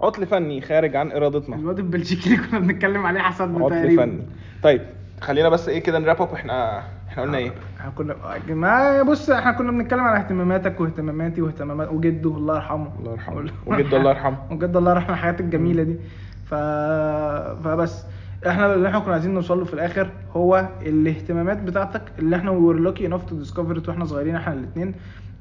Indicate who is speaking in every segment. Speaker 1: عطل فني خارج عن ارادتنا
Speaker 2: الواد البلجيكي اللي كنا بنتكلم عليه حسدنا
Speaker 1: عطل
Speaker 2: تقريبا
Speaker 1: فني طيب خلينا بس ايه كده نراب اب احنا احنا قلنا ايه
Speaker 2: احنا كنا ما بص احنا كنا بنتكلم على اهتماماتك واهتماماتي واهتمامات وجده الله يرحمه
Speaker 1: الله يرحمه وجد الله يرحمه
Speaker 2: وجد الله يرحمه الحاجات الجميله دي ف فبس احنا اللي احنا كنا عايزين نوصل له في الاخر هو الاهتمامات بتاعتك اللي احنا وير لوكي انف تو ديسكفر ات واحنا صغيرين احنا الاثنين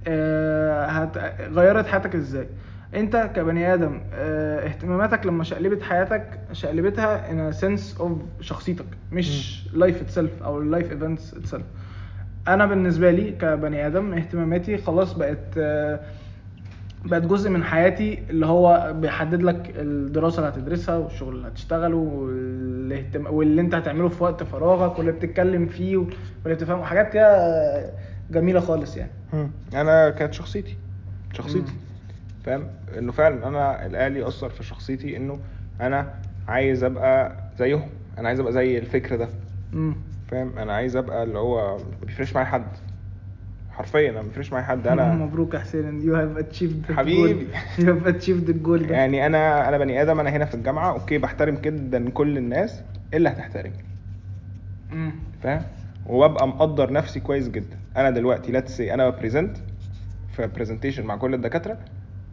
Speaker 2: اه هت... غيرت حياتك ازاي انت كبني ادم اه اهتماماتك لما شقلبت حياتك شقلبتها ان سنس اوف شخصيتك مش لايف اتسلف او اللايف ايفنتس اتسلف انا بالنسبه لي كبني ادم اهتماماتي خلاص بقت آه، بقت جزء من حياتي اللي هو بيحدد لك الدراسه اللي هتدرسها والشغل اللي هتشتغله والاهتم... واللي انت هتعمله في وقت فراغك واللي بتتكلم فيه واللي بتفهمه حاجات كده آه، جميله خالص يعني
Speaker 1: مم. انا كانت شخصيتي شخصيتي
Speaker 2: مم.
Speaker 1: فاهم انه فعلا انا الاهلي اثر في شخصيتي انه انا عايز ابقى زيهم انا عايز ابقى زي الفكر ده
Speaker 2: امم
Speaker 1: فاهم انا عايز ابقى اللي هو ما بيفرقش معايا حد حرفيا انا ما بيفرقش معايا حد انا
Speaker 2: أمم، مبروك يا حسين يو هاف اتشيفد
Speaker 1: حبيبي.
Speaker 2: يو هاف اتشيفد الجول ده
Speaker 1: يعني انا انا بني ادم انا هنا في الجامعه اوكي بحترم جدا كل الناس الا هتحترمني
Speaker 2: مم.
Speaker 1: فاهم وابقى مقدر نفسي كويس جدا انا دلوقتي ليتس سي انا بريزنت في برزنتيشن مع كل الدكاتره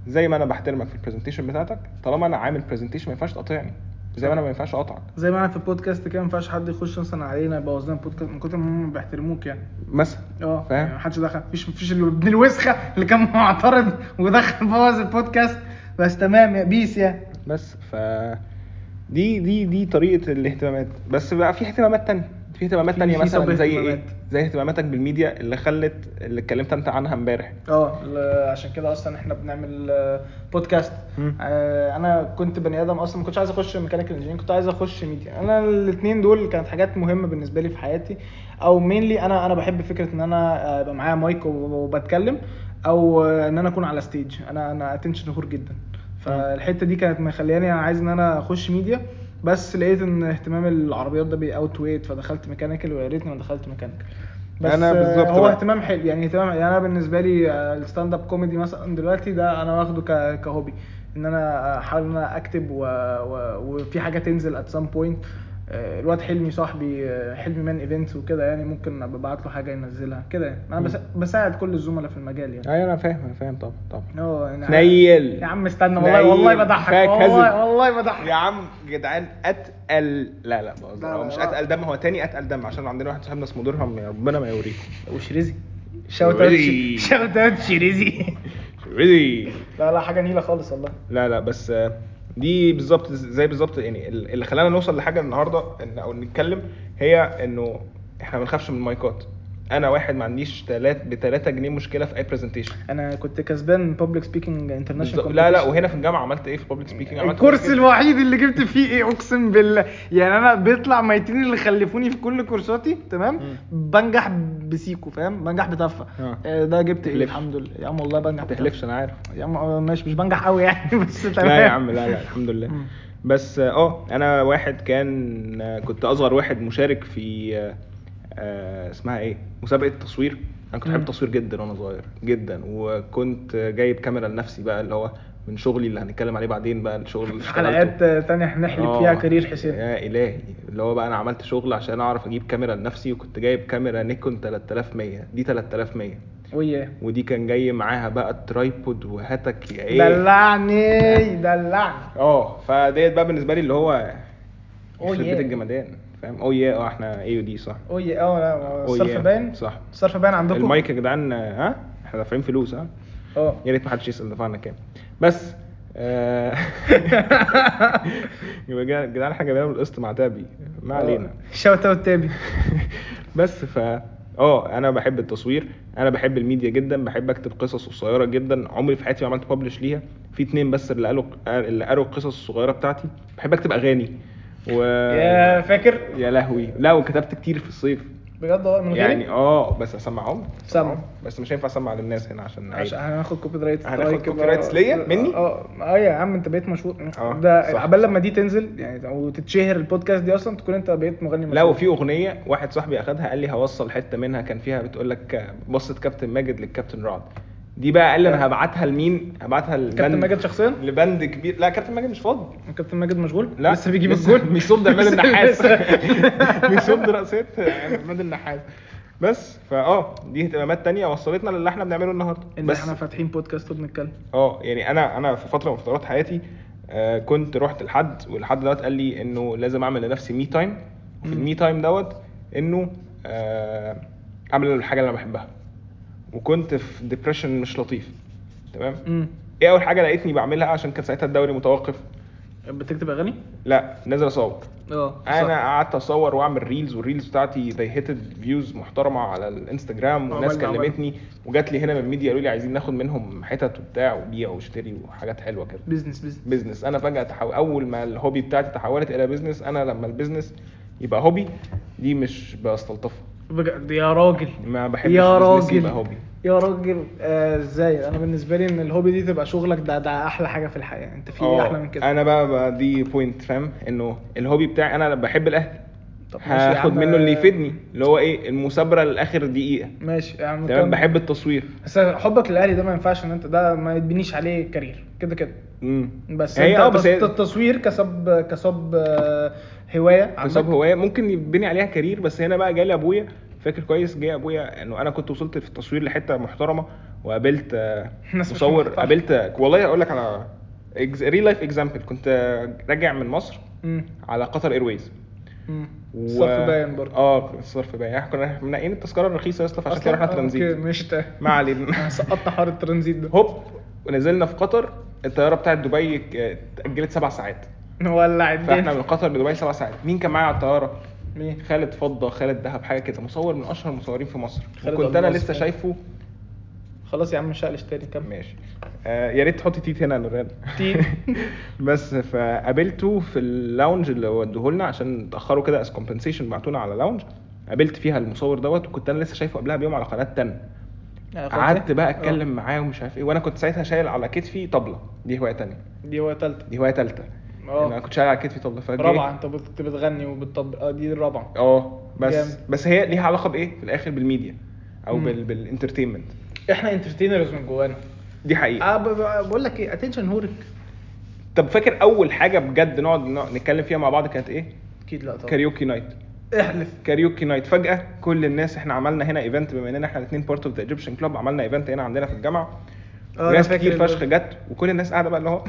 Speaker 1: زي ما انا بحترمك في البرزنتيشن بتاعتك طالما انا عامل برزنتيشن ما ينفعش تقاطعني زي ما انا ما ينفعش اقاطعك
Speaker 2: زي ما انا في البودكاست كده ما ينفعش حد يخش مثلا علينا يبوظ لنا البودكاست من كتر ما هم بيحترموك يعني
Speaker 1: مثلا
Speaker 2: اه
Speaker 1: فاهم؟
Speaker 2: يعني محدش دخل مفيش مفيش ال- ابن الوسخه اللي كان معترض ودخل بوظ البودكاست بس تمام يا بيس يا
Speaker 1: بس ف دي دي دي طريقه الاهتمامات بس بقى في اهتمامات تانية في اهتمامات
Speaker 2: في-
Speaker 1: تانية
Speaker 2: في
Speaker 1: مثلا
Speaker 2: سب
Speaker 1: زي ايه
Speaker 2: اهتمامات.
Speaker 1: زي اهتماماتك بالميديا اللي خلت اللي اتكلمت انت عنها امبارح
Speaker 2: اه ل- عشان كده اصلا احنا بنعمل آه، بودكاست
Speaker 1: مم.
Speaker 2: آه، انا كنت بني ادم اصلا ما كنتش عايز اخش ميكانيكال انجينير كنت عايز اخش ميديا انا الاثنين دول كانت حاجات مهمه بالنسبه لي في حياتي او مينلي انا انا بحب فكره ان انا آه، يبقى معايا مايك وب- وبتكلم او آه، ان انا اكون على ستيج انا انا اتنشن هور جدا فالحته دي كانت مخلياني انا عايز ان انا اخش ميديا بس لقيت ان اهتمام العربيات ده بيأوت ويت فدخلت ميكانيكال ويا ريتني ما دخلت ميكانيكال بس
Speaker 1: أنا
Speaker 2: آه،
Speaker 1: بالظبط
Speaker 2: هو
Speaker 1: بقى.
Speaker 2: اهتمام حلو يعني اهتمام يعني انا بالنسبه لي آه، الستاند اب كوميدي مثلا دلوقتي ده انا واخده ك- كهوبي ان انا احاول ان انا اكتب و... و... وفي حاجه تنزل ات سام بوينت آه، الواد حلمي صاحبي آه، حلمي مان ايفنتس وكده يعني ممكن ابعت له حاجه ينزلها كده يعني انا بس... بساعد كل الزملاء في المجال يعني
Speaker 1: ايوه انا فاهم انا فاهم طبعا طبعا
Speaker 2: اه يعني
Speaker 1: نيل
Speaker 2: يا عم استنى والله
Speaker 1: نيل.
Speaker 2: والله بضحك
Speaker 1: كفاية كذب.
Speaker 2: والله والله بضحك
Speaker 1: يا عم جدعان اتقل لا لا بهزر
Speaker 2: لا،
Speaker 1: هو
Speaker 2: لا،
Speaker 1: مش
Speaker 2: لا.
Speaker 1: اتقل دم هو تاني اتقل دم عشان عندنا واحد صاحبنا اسمه درهم يا ربنا ما يوريكم
Speaker 2: وشريزي شوت اوت
Speaker 1: شريزي.
Speaker 2: شوت اوت شريزي
Speaker 1: ريدي
Speaker 2: لا لا حاجه نيله خالص والله
Speaker 1: لا لا بس آه، دي بالظبط زي بالظبط يعني ال- اللي خلانا نوصل لحاجه النهارده إن او نتكلم هي انه احنا ما بنخافش من المايكات انا واحد ما عنديش تلات ب 3 جنيه مشكله في اي برزنتيشن
Speaker 2: انا كنت كسبان بابليك سبيكينج انترناشونال
Speaker 1: لا لا وهنا في الجامعه عملت ايه في بابليك سبيكينج عملت
Speaker 2: الكورس
Speaker 1: كده.
Speaker 2: الوحيد اللي جبت فيه ايه اقسم بالله يعني انا بيطلع ميتين اللي خلفوني في كل كورساتي تمام
Speaker 1: مم.
Speaker 2: بنجح بسيكو فاهم بنجح بتفه
Speaker 1: آه.
Speaker 2: آه، ده جبت ايه
Speaker 1: تحلفش.
Speaker 2: الحمد لله يا عم والله بنجح
Speaker 1: ما
Speaker 2: بتفة.
Speaker 1: تحلفش انا عارف
Speaker 2: يا عم آه، ماشي مش بنجح قوي يعني بس تمام
Speaker 1: لا يا عم لا لا الحمد لله
Speaker 2: مم.
Speaker 1: بس آه، اه انا واحد كان آه، كنت اصغر واحد مشارك في آه، آه، اسمها ايه مسابقه تصوير انا كنت
Speaker 2: مم.
Speaker 1: بحب التصوير جدا وانا صغير جدا وكنت جايب كاميرا لنفسي بقى اللي هو من شغلي اللي هنتكلم عليه بعدين بقى الشغل اللي
Speaker 2: في
Speaker 1: اشتغلته.
Speaker 2: حلقات آه، تانية هنحلب
Speaker 1: آه،
Speaker 2: فيها كارير حسين
Speaker 1: يا الهي اللي هو بقى انا عملت شغل عشان اعرف اجيب كاميرا لنفسي وكنت جايب كاميرا نيكون 3100 دي 3100
Speaker 2: وياه
Speaker 1: ودي كان جاي معاها بقى الترايبود وهاتك يا ايه
Speaker 2: دلعني دلعني
Speaker 1: اه فديت بقى بالنسبه لي اللي هو
Speaker 2: أوه
Speaker 1: يخرب
Speaker 2: ياه.
Speaker 1: بيت الجمدان فاهم او يا اه احنا اي ودي صح
Speaker 2: اوه اه لا
Speaker 1: أوه
Speaker 2: الصرف
Speaker 1: ياه.
Speaker 2: باين
Speaker 1: صح
Speaker 2: الصرف باين عندكم
Speaker 1: المايك يا جدعان آه، ها احنا دافعين فلوس ها
Speaker 2: اه
Speaker 1: يا ريت ما حدش يسال دفعنا كام بس آه، يبقى يا جدعان احنا جايبينها بالقسط مع تابي ما علينا
Speaker 2: آه. شوت اوت تابي
Speaker 1: بس ف اه انا بحب التصوير انا بحب الميديا جدا بحب اكتب قصص قصيره جدا عمري في حياتي ما عملت ببلش ليها في اتنين بس اللي قالوا اللي قالوا القصص الصغيره بتاعتي بحب اكتب اغاني و
Speaker 2: يا فاكر
Speaker 1: يا لهوي لا وكتبت كتير في الصيف
Speaker 2: بجد والله من غيري
Speaker 1: يعني اه بس اسمعهم
Speaker 2: سمع.
Speaker 1: أسمعهم. بس مش هينفع اسمع للناس هنا عشان عيب.
Speaker 2: عشان هناخد كوبي رايت
Speaker 1: هناخد copyright ليا؟ مني؟
Speaker 2: اه اه يا عم انت بقيت مشهور
Speaker 1: آه،
Speaker 2: ده
Speaker 1: صح،
Speaker 2: عبال
Speaker 1: صح.
Speaker 2: لما دي تنزل يعني او تتشهر البودكاست دي اصلا تكون انت بقيت مغني
Speaker 1: لا
Speaker 2: مشهور
Speaker 1: وفي اغنيه واحد صاحبي اخدها قال لي هوصل حته منها كان فيها بتقول لك بصت كابتن ماجد للكابتن رعد دي بقى قال لي انا هبعتها لمين هبعتها لبند
Speaker 2: كابتن ماجد شخصيا؟
Speaker 1: لبند كبير لا كابتن ماجد مش فاضي
Speaker 2: كابتن ماجد مشغول
Speaker 1: لا
Speaker 2: لسه بيجيب الجول
Speaker 1: ميسوب ده عماد
Speaker 2: لسه-
Speaker 1: النحاس
Speaker 2: لسه.
Speaker 1: ميسوب ده رقصت عماد النحاس بس فاه دي اهتمامات تانية وصلتنا للي احنا بنعمله النهارده
Speaker 2: ان
Speaker 1: بس
Speaker 2: احنا فاتحين بودكاست وبنتكلم
Speaker 1: اه يعني انا انا في فتره من فترات حياتي آه كنت رحت لحد والحد دوت قال لي انه لازم اعمل لنفسي مي تايم وفي
Speaker 2: مم.
Speaker 1: المي تايم دوت انه آه اعمل الحاجه اللي انا بحبها وكنت في ديبريشن مش لطيف تمام
Speaker 2: امم
Speaker 1: ايه اول حاجه لقيتني بعملها عشان كان ساعتها الدوري متوقف
Speaker 2: بتكتب اغاني؟
Speaker 1: لا نازل اصور
Speaker 2: اه
Speaker 1: انا قعدت اصور واعمل ريلز والريلز بتاعتي they هيتد فيوز محترمه على الانستجرام وناس
Speaker 2: عملنا- عملنا.
Speaker 1: كلمتني وجات لي هنا من الميديا قالوا لي عايزين ناخد منهم حتت وبتاع وبيع واشتري وحاجات حلوه كده
Speaker 2: بزنس بزنس
Speaker 1: بزنس انا فجاه تحول اول ما الهوبي بتاعتي تحولت الى بزنس انا لما البزنس يبقى هوبي دي مش بستلطفها
Speaker 2: بجد يا راجل
Speaker 1: ما بحبش
Speaker 2: يا
Speaker 1: البيزنس
Speaker 2: راجل
Speaker 1: يبقى هوبي
Speaker 2: يا راجل آه، ازاي انا بالنسبه لي ان الهوبي دي تبقى شغلك ده ده احلى حاجه في الحياه انت في ايه
Speaker 1: آه،
Speaker 2: احلى من كده
Speaker 1: انا بقى, بقى دي بوينت فاهم انه الهوبي بتاعي انا بحب الاهل
Speaker 2: طب ماشي يا
Speaker 1: هاخد
Speaker 2: عم.
Speaker 1: منه اللي يفيدني اللي هو ايه المثابره لاخر دقيقه
Speaker 2: ماشي يا عم
Speaker 1: تمام
Speaker 2: كمل.
Speaker 1: بحب التصوير
Speaker 2: بس حبك للاهلي ده ما ينفعش ان انت ده ما يتبنيش عليه كارير كده كده
Speaker 1: امم
Speaker 2: بس
Speaker 1: هي
Speaker 2: انت
Speaker 1: اه
Speaker 2: اه
Speaker 1: بس
Speaker 2: بس
Speaker 1: هي-
Speaker 2: التصوير كسب كسب آه، هوايه
Speaker 1: حساب
Speaker 2: عندك.
Speaker 1: هوايه ممكن يبني عليها كارير بس هنا بقى جالي ابويا فاكر كويس جه ابويا انه انا كنت وصلت في التصوير لحته محترمه وقابلت آه،
Speaker 2: ناس مش
Speaker 1: مصور
Speaker 2: محترمة.
Speaker 1: قابلت والله اقول لك على ريل لايف اكزامبل كنت آه، راجع من مصر
Speaker 2: امم
Speaker 1: على قطر ايرويز
Speaker 2: امم الصرف باين برضه
Speaker 1: اه الصرف باين احنا كنا منقين التذكره الرخيصه يا اسطى فعشان كده
Speaker 2: أصلاً؟
Speaker 1: رحنا
Speaker 2: آه،
Speaker 1: ترانزيت
Speaker 2: اوكي ماشي تمام.
Speaker 1: ما علينا
Speaker 2: سقطنا حوار الترانزيت ده
Speaker 1: هوب ونزلنا في قطر الطياره بتاعت دبي آه، اتاجلت سبع ساعات
Speaker 2: نولع
Speaker 1: فاحنا من
Speaker 2: الدنيا
Speaker 1: قطر لدبي سبع ساعات مين كان معايا على الطياره
Speaker 2: مين؟
Speaker 1: خالد فضه خالد دهب حاجه كده مصور من اشهر المصورين في مصر
Speaker 2: خالد
Speaker 1: وكنت انا
Speaker 2: ألماس.
Speaker 1: لسه شايفه
Speaker 2: خلاص يا عم مش هقلش تاني كمل
Speaker 1: ماشي آه يا ريت تحط تيت هنا يا نوران
Speaker 2: تيت.
Speaker 1: بس فقابلته في اللاونج اللي ودوه لنا عشان اتاخروا كده از كومبنسيشن بعتونا على لاونج قابلت فيها المصور دوت وكنت انا لسه شايفه قبلها بيوم على قناه 10
Speaker 2: آه، خلاص.
Speaker 1: قعدت بقى اتكلم
Speaker 2: آه.
Speaker 1: معاه ومش عارف ايه وانا كنت ساعتها شايل على كتفي طبله دي هوايه تانية
Speaker 2: دي هوايه ثالثه
Speaker 1: دي هوايه ثالثه
Speaker 2: آه.
Speaker 1: انا كنت شايل على كتفي طبله فجأة-
Speaker 2: رابعه انت كنت بتغني وبتطبل اه دي الرابعه
Speaker 1: اه بس
Speaker 2: جامد.
Speaker 1: بس هي ليها علاقه بايه في الاخر بالميديا او
Speaker 2: مم.
Speaker 1: بال... بالانترتينمنت
Speaker 2: احنا انترتينرز من جوانا
Speaker 1: دي حقيقه
Speaker 2: آه، ب- ب- بقول لك ايه اتنشن هورك
Speaker 1: طب فاكر اول حاجه بجد نقعد نقعد نتكلم فيها مع بعض كانت ايه
Speaker 2: اكيد لا طبعا
Speaker 1: كاريوكي نايت
Speaker 2: احلف
Speaker 1: كاريوكي نايت فجاه كل الناس احنا عملنا هنا ايفنت بما اننا احنا الاثنين بارت اوف ذا ايجيبشن كلوب عملنا ايفنت هنا عندنا في الجامعه ناس
Speaker 2: آه، أنا فاكر
Speaker 1: كتير
Speaker 2: ال-
Speaker 1: فشخ جت وكل الناس قاعده بقى اللي هو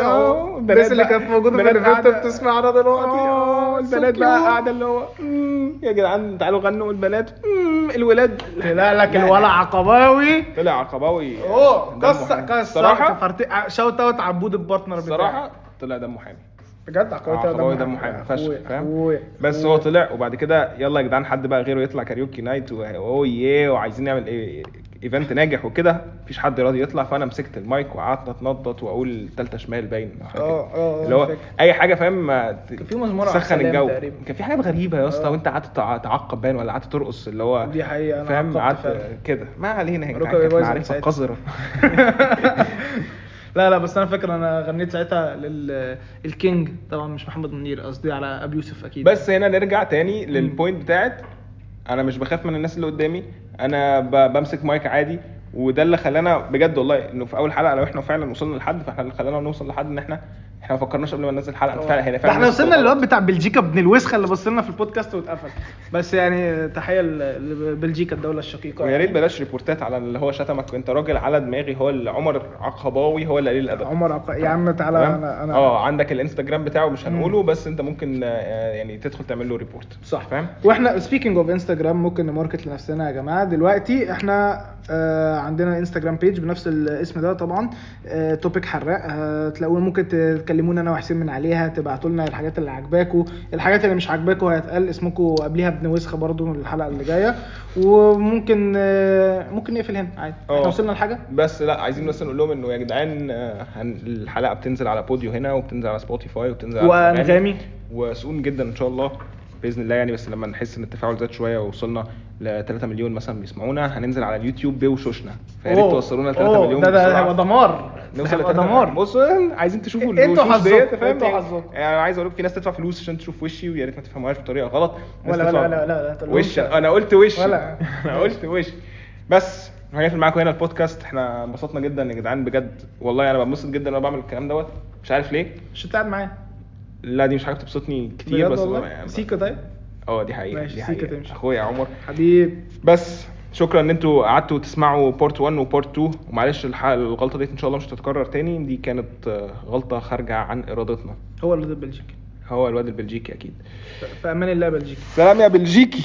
Speaker 2: اه
Speaker 1: بنات
Speaker 2: الناس اللي
Speaker 1: بقى-
Speaker 2: كانت موجوده في آه،
Speaker 1: بنات
Speaker 2: الايفنت
Speaker 1: قاعدة-
Speaker 2: بتسمعنا دلوقتي
Speaker 1: اه البنات بقى قاعده اللي هو مم، يا جدعان تعالوا غنوا البنات مم، الولاد
Speaker 2: طلع لك
Speaker 1: لا،
Speaker 2: الولع
Speaker 1: لا.
Speaker 2: عقباوي
Speaker 1: طلع عقباوي
Speaker 2: اوه
Speaker 1: دمه
Speaker 2: كسر
Speaker 1: حامي.
Speaker 2: كسر
Speaker 1: الصراحه
Speaker 2: شوت اوت آه، عبود البارتنر بتاعي
Speaker 1: الصراحه طلع دمه حامي
Speaker 2: بجد عقباوي
Speaker 1: عقباوي دمه حامي فشخ فاهم بس هو طلع وبعد كده يلا يا جدعان حد بقى غيره يطلع كاريوكي نايت واوه ياه وعايزين نعمل ايه ايفنت ناجح وكده مفيش حد راضي يطلع فانا مسكت المايك وقعدت اتنطط واقول تالتة شمال باين أو حاجة كده.
Speaker 2: اه، اه، اه،
Speaker 1: اللي هو
Speaker 2: فاكر.
Speaker 1: اي حاجه فاهم ما ت-
Speaker 2: كان في مزمار على
Speaker 1: تسخن
Speaker 2: السلام
Speaker 1: الجو
Speaker 2: تقريبا.
Speaker 1: كان في حاجات غريبه يا اسطى
Speaker 2: اه.
Speaker 1: وانت قعدت تع- تعقب باين ولا قعدت ترقص اللي هو
Speaker 2: دي حقيقة، انا
Speaker 1: فاهم
Speaker 2: عقبت
Speaker 1: قعدت
Speaker 2: فعلا.
Speaker 1: كده ما علينا يا
Speaker 2: ركبي
Speaker 1: جدعان كانت
Speaker 2: بايظة من
Speaker 1: معرفه
Speaker 2: ساعتها.
Speaker 1: قذره
Speaker 2: لا لا بس انا فاكر انا غنيت ساعتها للكينج طبعا مش محمد منير قصدي على ابي يوسف اكيد
Speaker 1: بس هنا نرجع تاني للبوينت بتاعت انا مش بخاف من الناس اللي قدامي انا ب- بمسك مايك عادي وده اللي خلانا بجد والله انه في اول حلقه لو احنا فعلا وصلنا لحد فاحنا اللي خلانا نوصل لحد ان احنا احنا ما فكرناش قبل ما ننزل الحلقه
Speaker 2: اه.
Speaker 1: فعلا هي
Speaker 2: ده
Speaker 1: فعلا
Speaker 2: احنا
Speaker 1: الناس
Speaker 2: وصلنا
Speaker 1: بتبقى
Speaker 2: للواد بتاع بلجيكا ابن الوسخه اللي بص لنا في البودكاست واتقفل بس يعني تحيه ل- لبلجيكا الدوله الشقيقه
Speaker 1: ويا ريت
Speaker 2: يعني.
Speaker 1: بلاش ريبورتات على اللي هو شتمك انت راجل على دماغي هو اللي عمر عقباوي هو اللي قليل الادب
Speaker 2: عمر عبقري يا عم تعالى
Speaker 1: تمام؟
Speaker 2: انا انا
Speaker 1: اه عندك الانستجرام بتاعه مش
Speaker 2: مم.
Speaker 1: هنقوله بس انت ممكن آه، يعني تدخل تعمل له ريبورت
Speaker 2: صح
Speaker 1: فاهم
Speaker 2: واحنا سبيكينج اوف انستجرام ممكن نماركت لنفسنا يا جماعه دلوقتي احنا آه عندنا انستجرام بيج بنفس الاسم ده طبعا آه توبيك حراق هتلاقوه ممكن تكلمونا انا وحسين من عليها تبعتوا لنا الحاجات اللي عاجباكوا الحاجات اللي مش عاجباكوا هيتقال اسمكم قبليها ابن وسخه برضو الحلقه اللي جايه وممكن آه ممكن نقفل هنا عادي
Speaker 1: اه.
Speaker 2: احنا وصلنا لحاجه
Speaker 1: بس لا عايزين بس نقول لهم انه يا جدعان آه، هن... الحلقه بتنزل على بوديو هنا وبتنزل على سبوتيفاي وبتنزل على
Speaker 2: وأنغامي.
Speaker 1: وسون جدا ان شاء الله باذن الله يعني بس لما نحس ان التفاعل زاد شويه ووصلنا ل 3 مليون مثلا بيسمعونا هننزل على اليوتيوب بوشوشنا فيا ريت
Speaker 2: أوه،
Speaker 1: توصلونا ل 3
Speaker 2: أوه،
Speaker 1: مليون
Speaker 2: ده ده
Speaker 1: بسرعة.
Speaker 2: هيبقى دمار
Speaker 1: نوصل
Speaker 2: نوصل
Speaker 1: ل
Speaker 2: هيبقى
Speaker 1: 3
Speaker 2: دمار
Speaker 1: بص عايزين تشوفوا
Speaker 2: انتوا
Speaker 1: الوشوش
Speaker 2: حظكم،
Speaker 1: ديت، فاهم
Speaker 2: انتوا
Speaker 1: يعني-
Speaker 2: حظكم.
Speaker 1: يعني انا عايز اقول لك في ناس تدفع فلوس عشان تشوف وشي ويا ريت ما تفهموهاش بطريقه غلط ناس
Speaker 2: ولا- ولا-
Speaker 1: تدفع
Speaker 2: ولا- ولا- لا تقولهمش.
Speaker 1: وش انا قلت وش
Speaker 2: ولا.
Speaker 1: انا قلت وش بس هنقفل معاكم هنا البودكاست احنا انبسطنا جدا يا جدعان بجد والله انا بنبسط جدا وانا بعمل الكلام دوت مش عارف ليه
Speaker 2: مش انت قاعد معايا
Speaker 1: لا دي مش حاجه بتبسطني كتير
Speaker 2: بجد
Speaker 1: بس
Speaker 2: والله سيكا طيب
Speaker 1: اه دي حقيقه
Speaker 2: ماشي،
Speaker 1: دي
Speaker 2: سيكا
Speaker 1: حقيقه
Speaker 2: تمشي.
Speaker 1: اخويا عمر
Speaker 2: حبيب
Speaker 1: بس شكرا ان انتوا قعدتوا تسمعوا بارت 1 وبارت 2 ومعلش الح- الغلطه دي ان شاء الله مش هتتكرر تاني دي كانت آه، غلطه خارجه عن ارادتنا
Speaker 2: هو اللي ضد بلجيكا
Speaker 1: هو الواد البلجيكي اكيد
Speaker 2: في امان الله بلجيكا
Speaker 1: سلام يا بلجيكي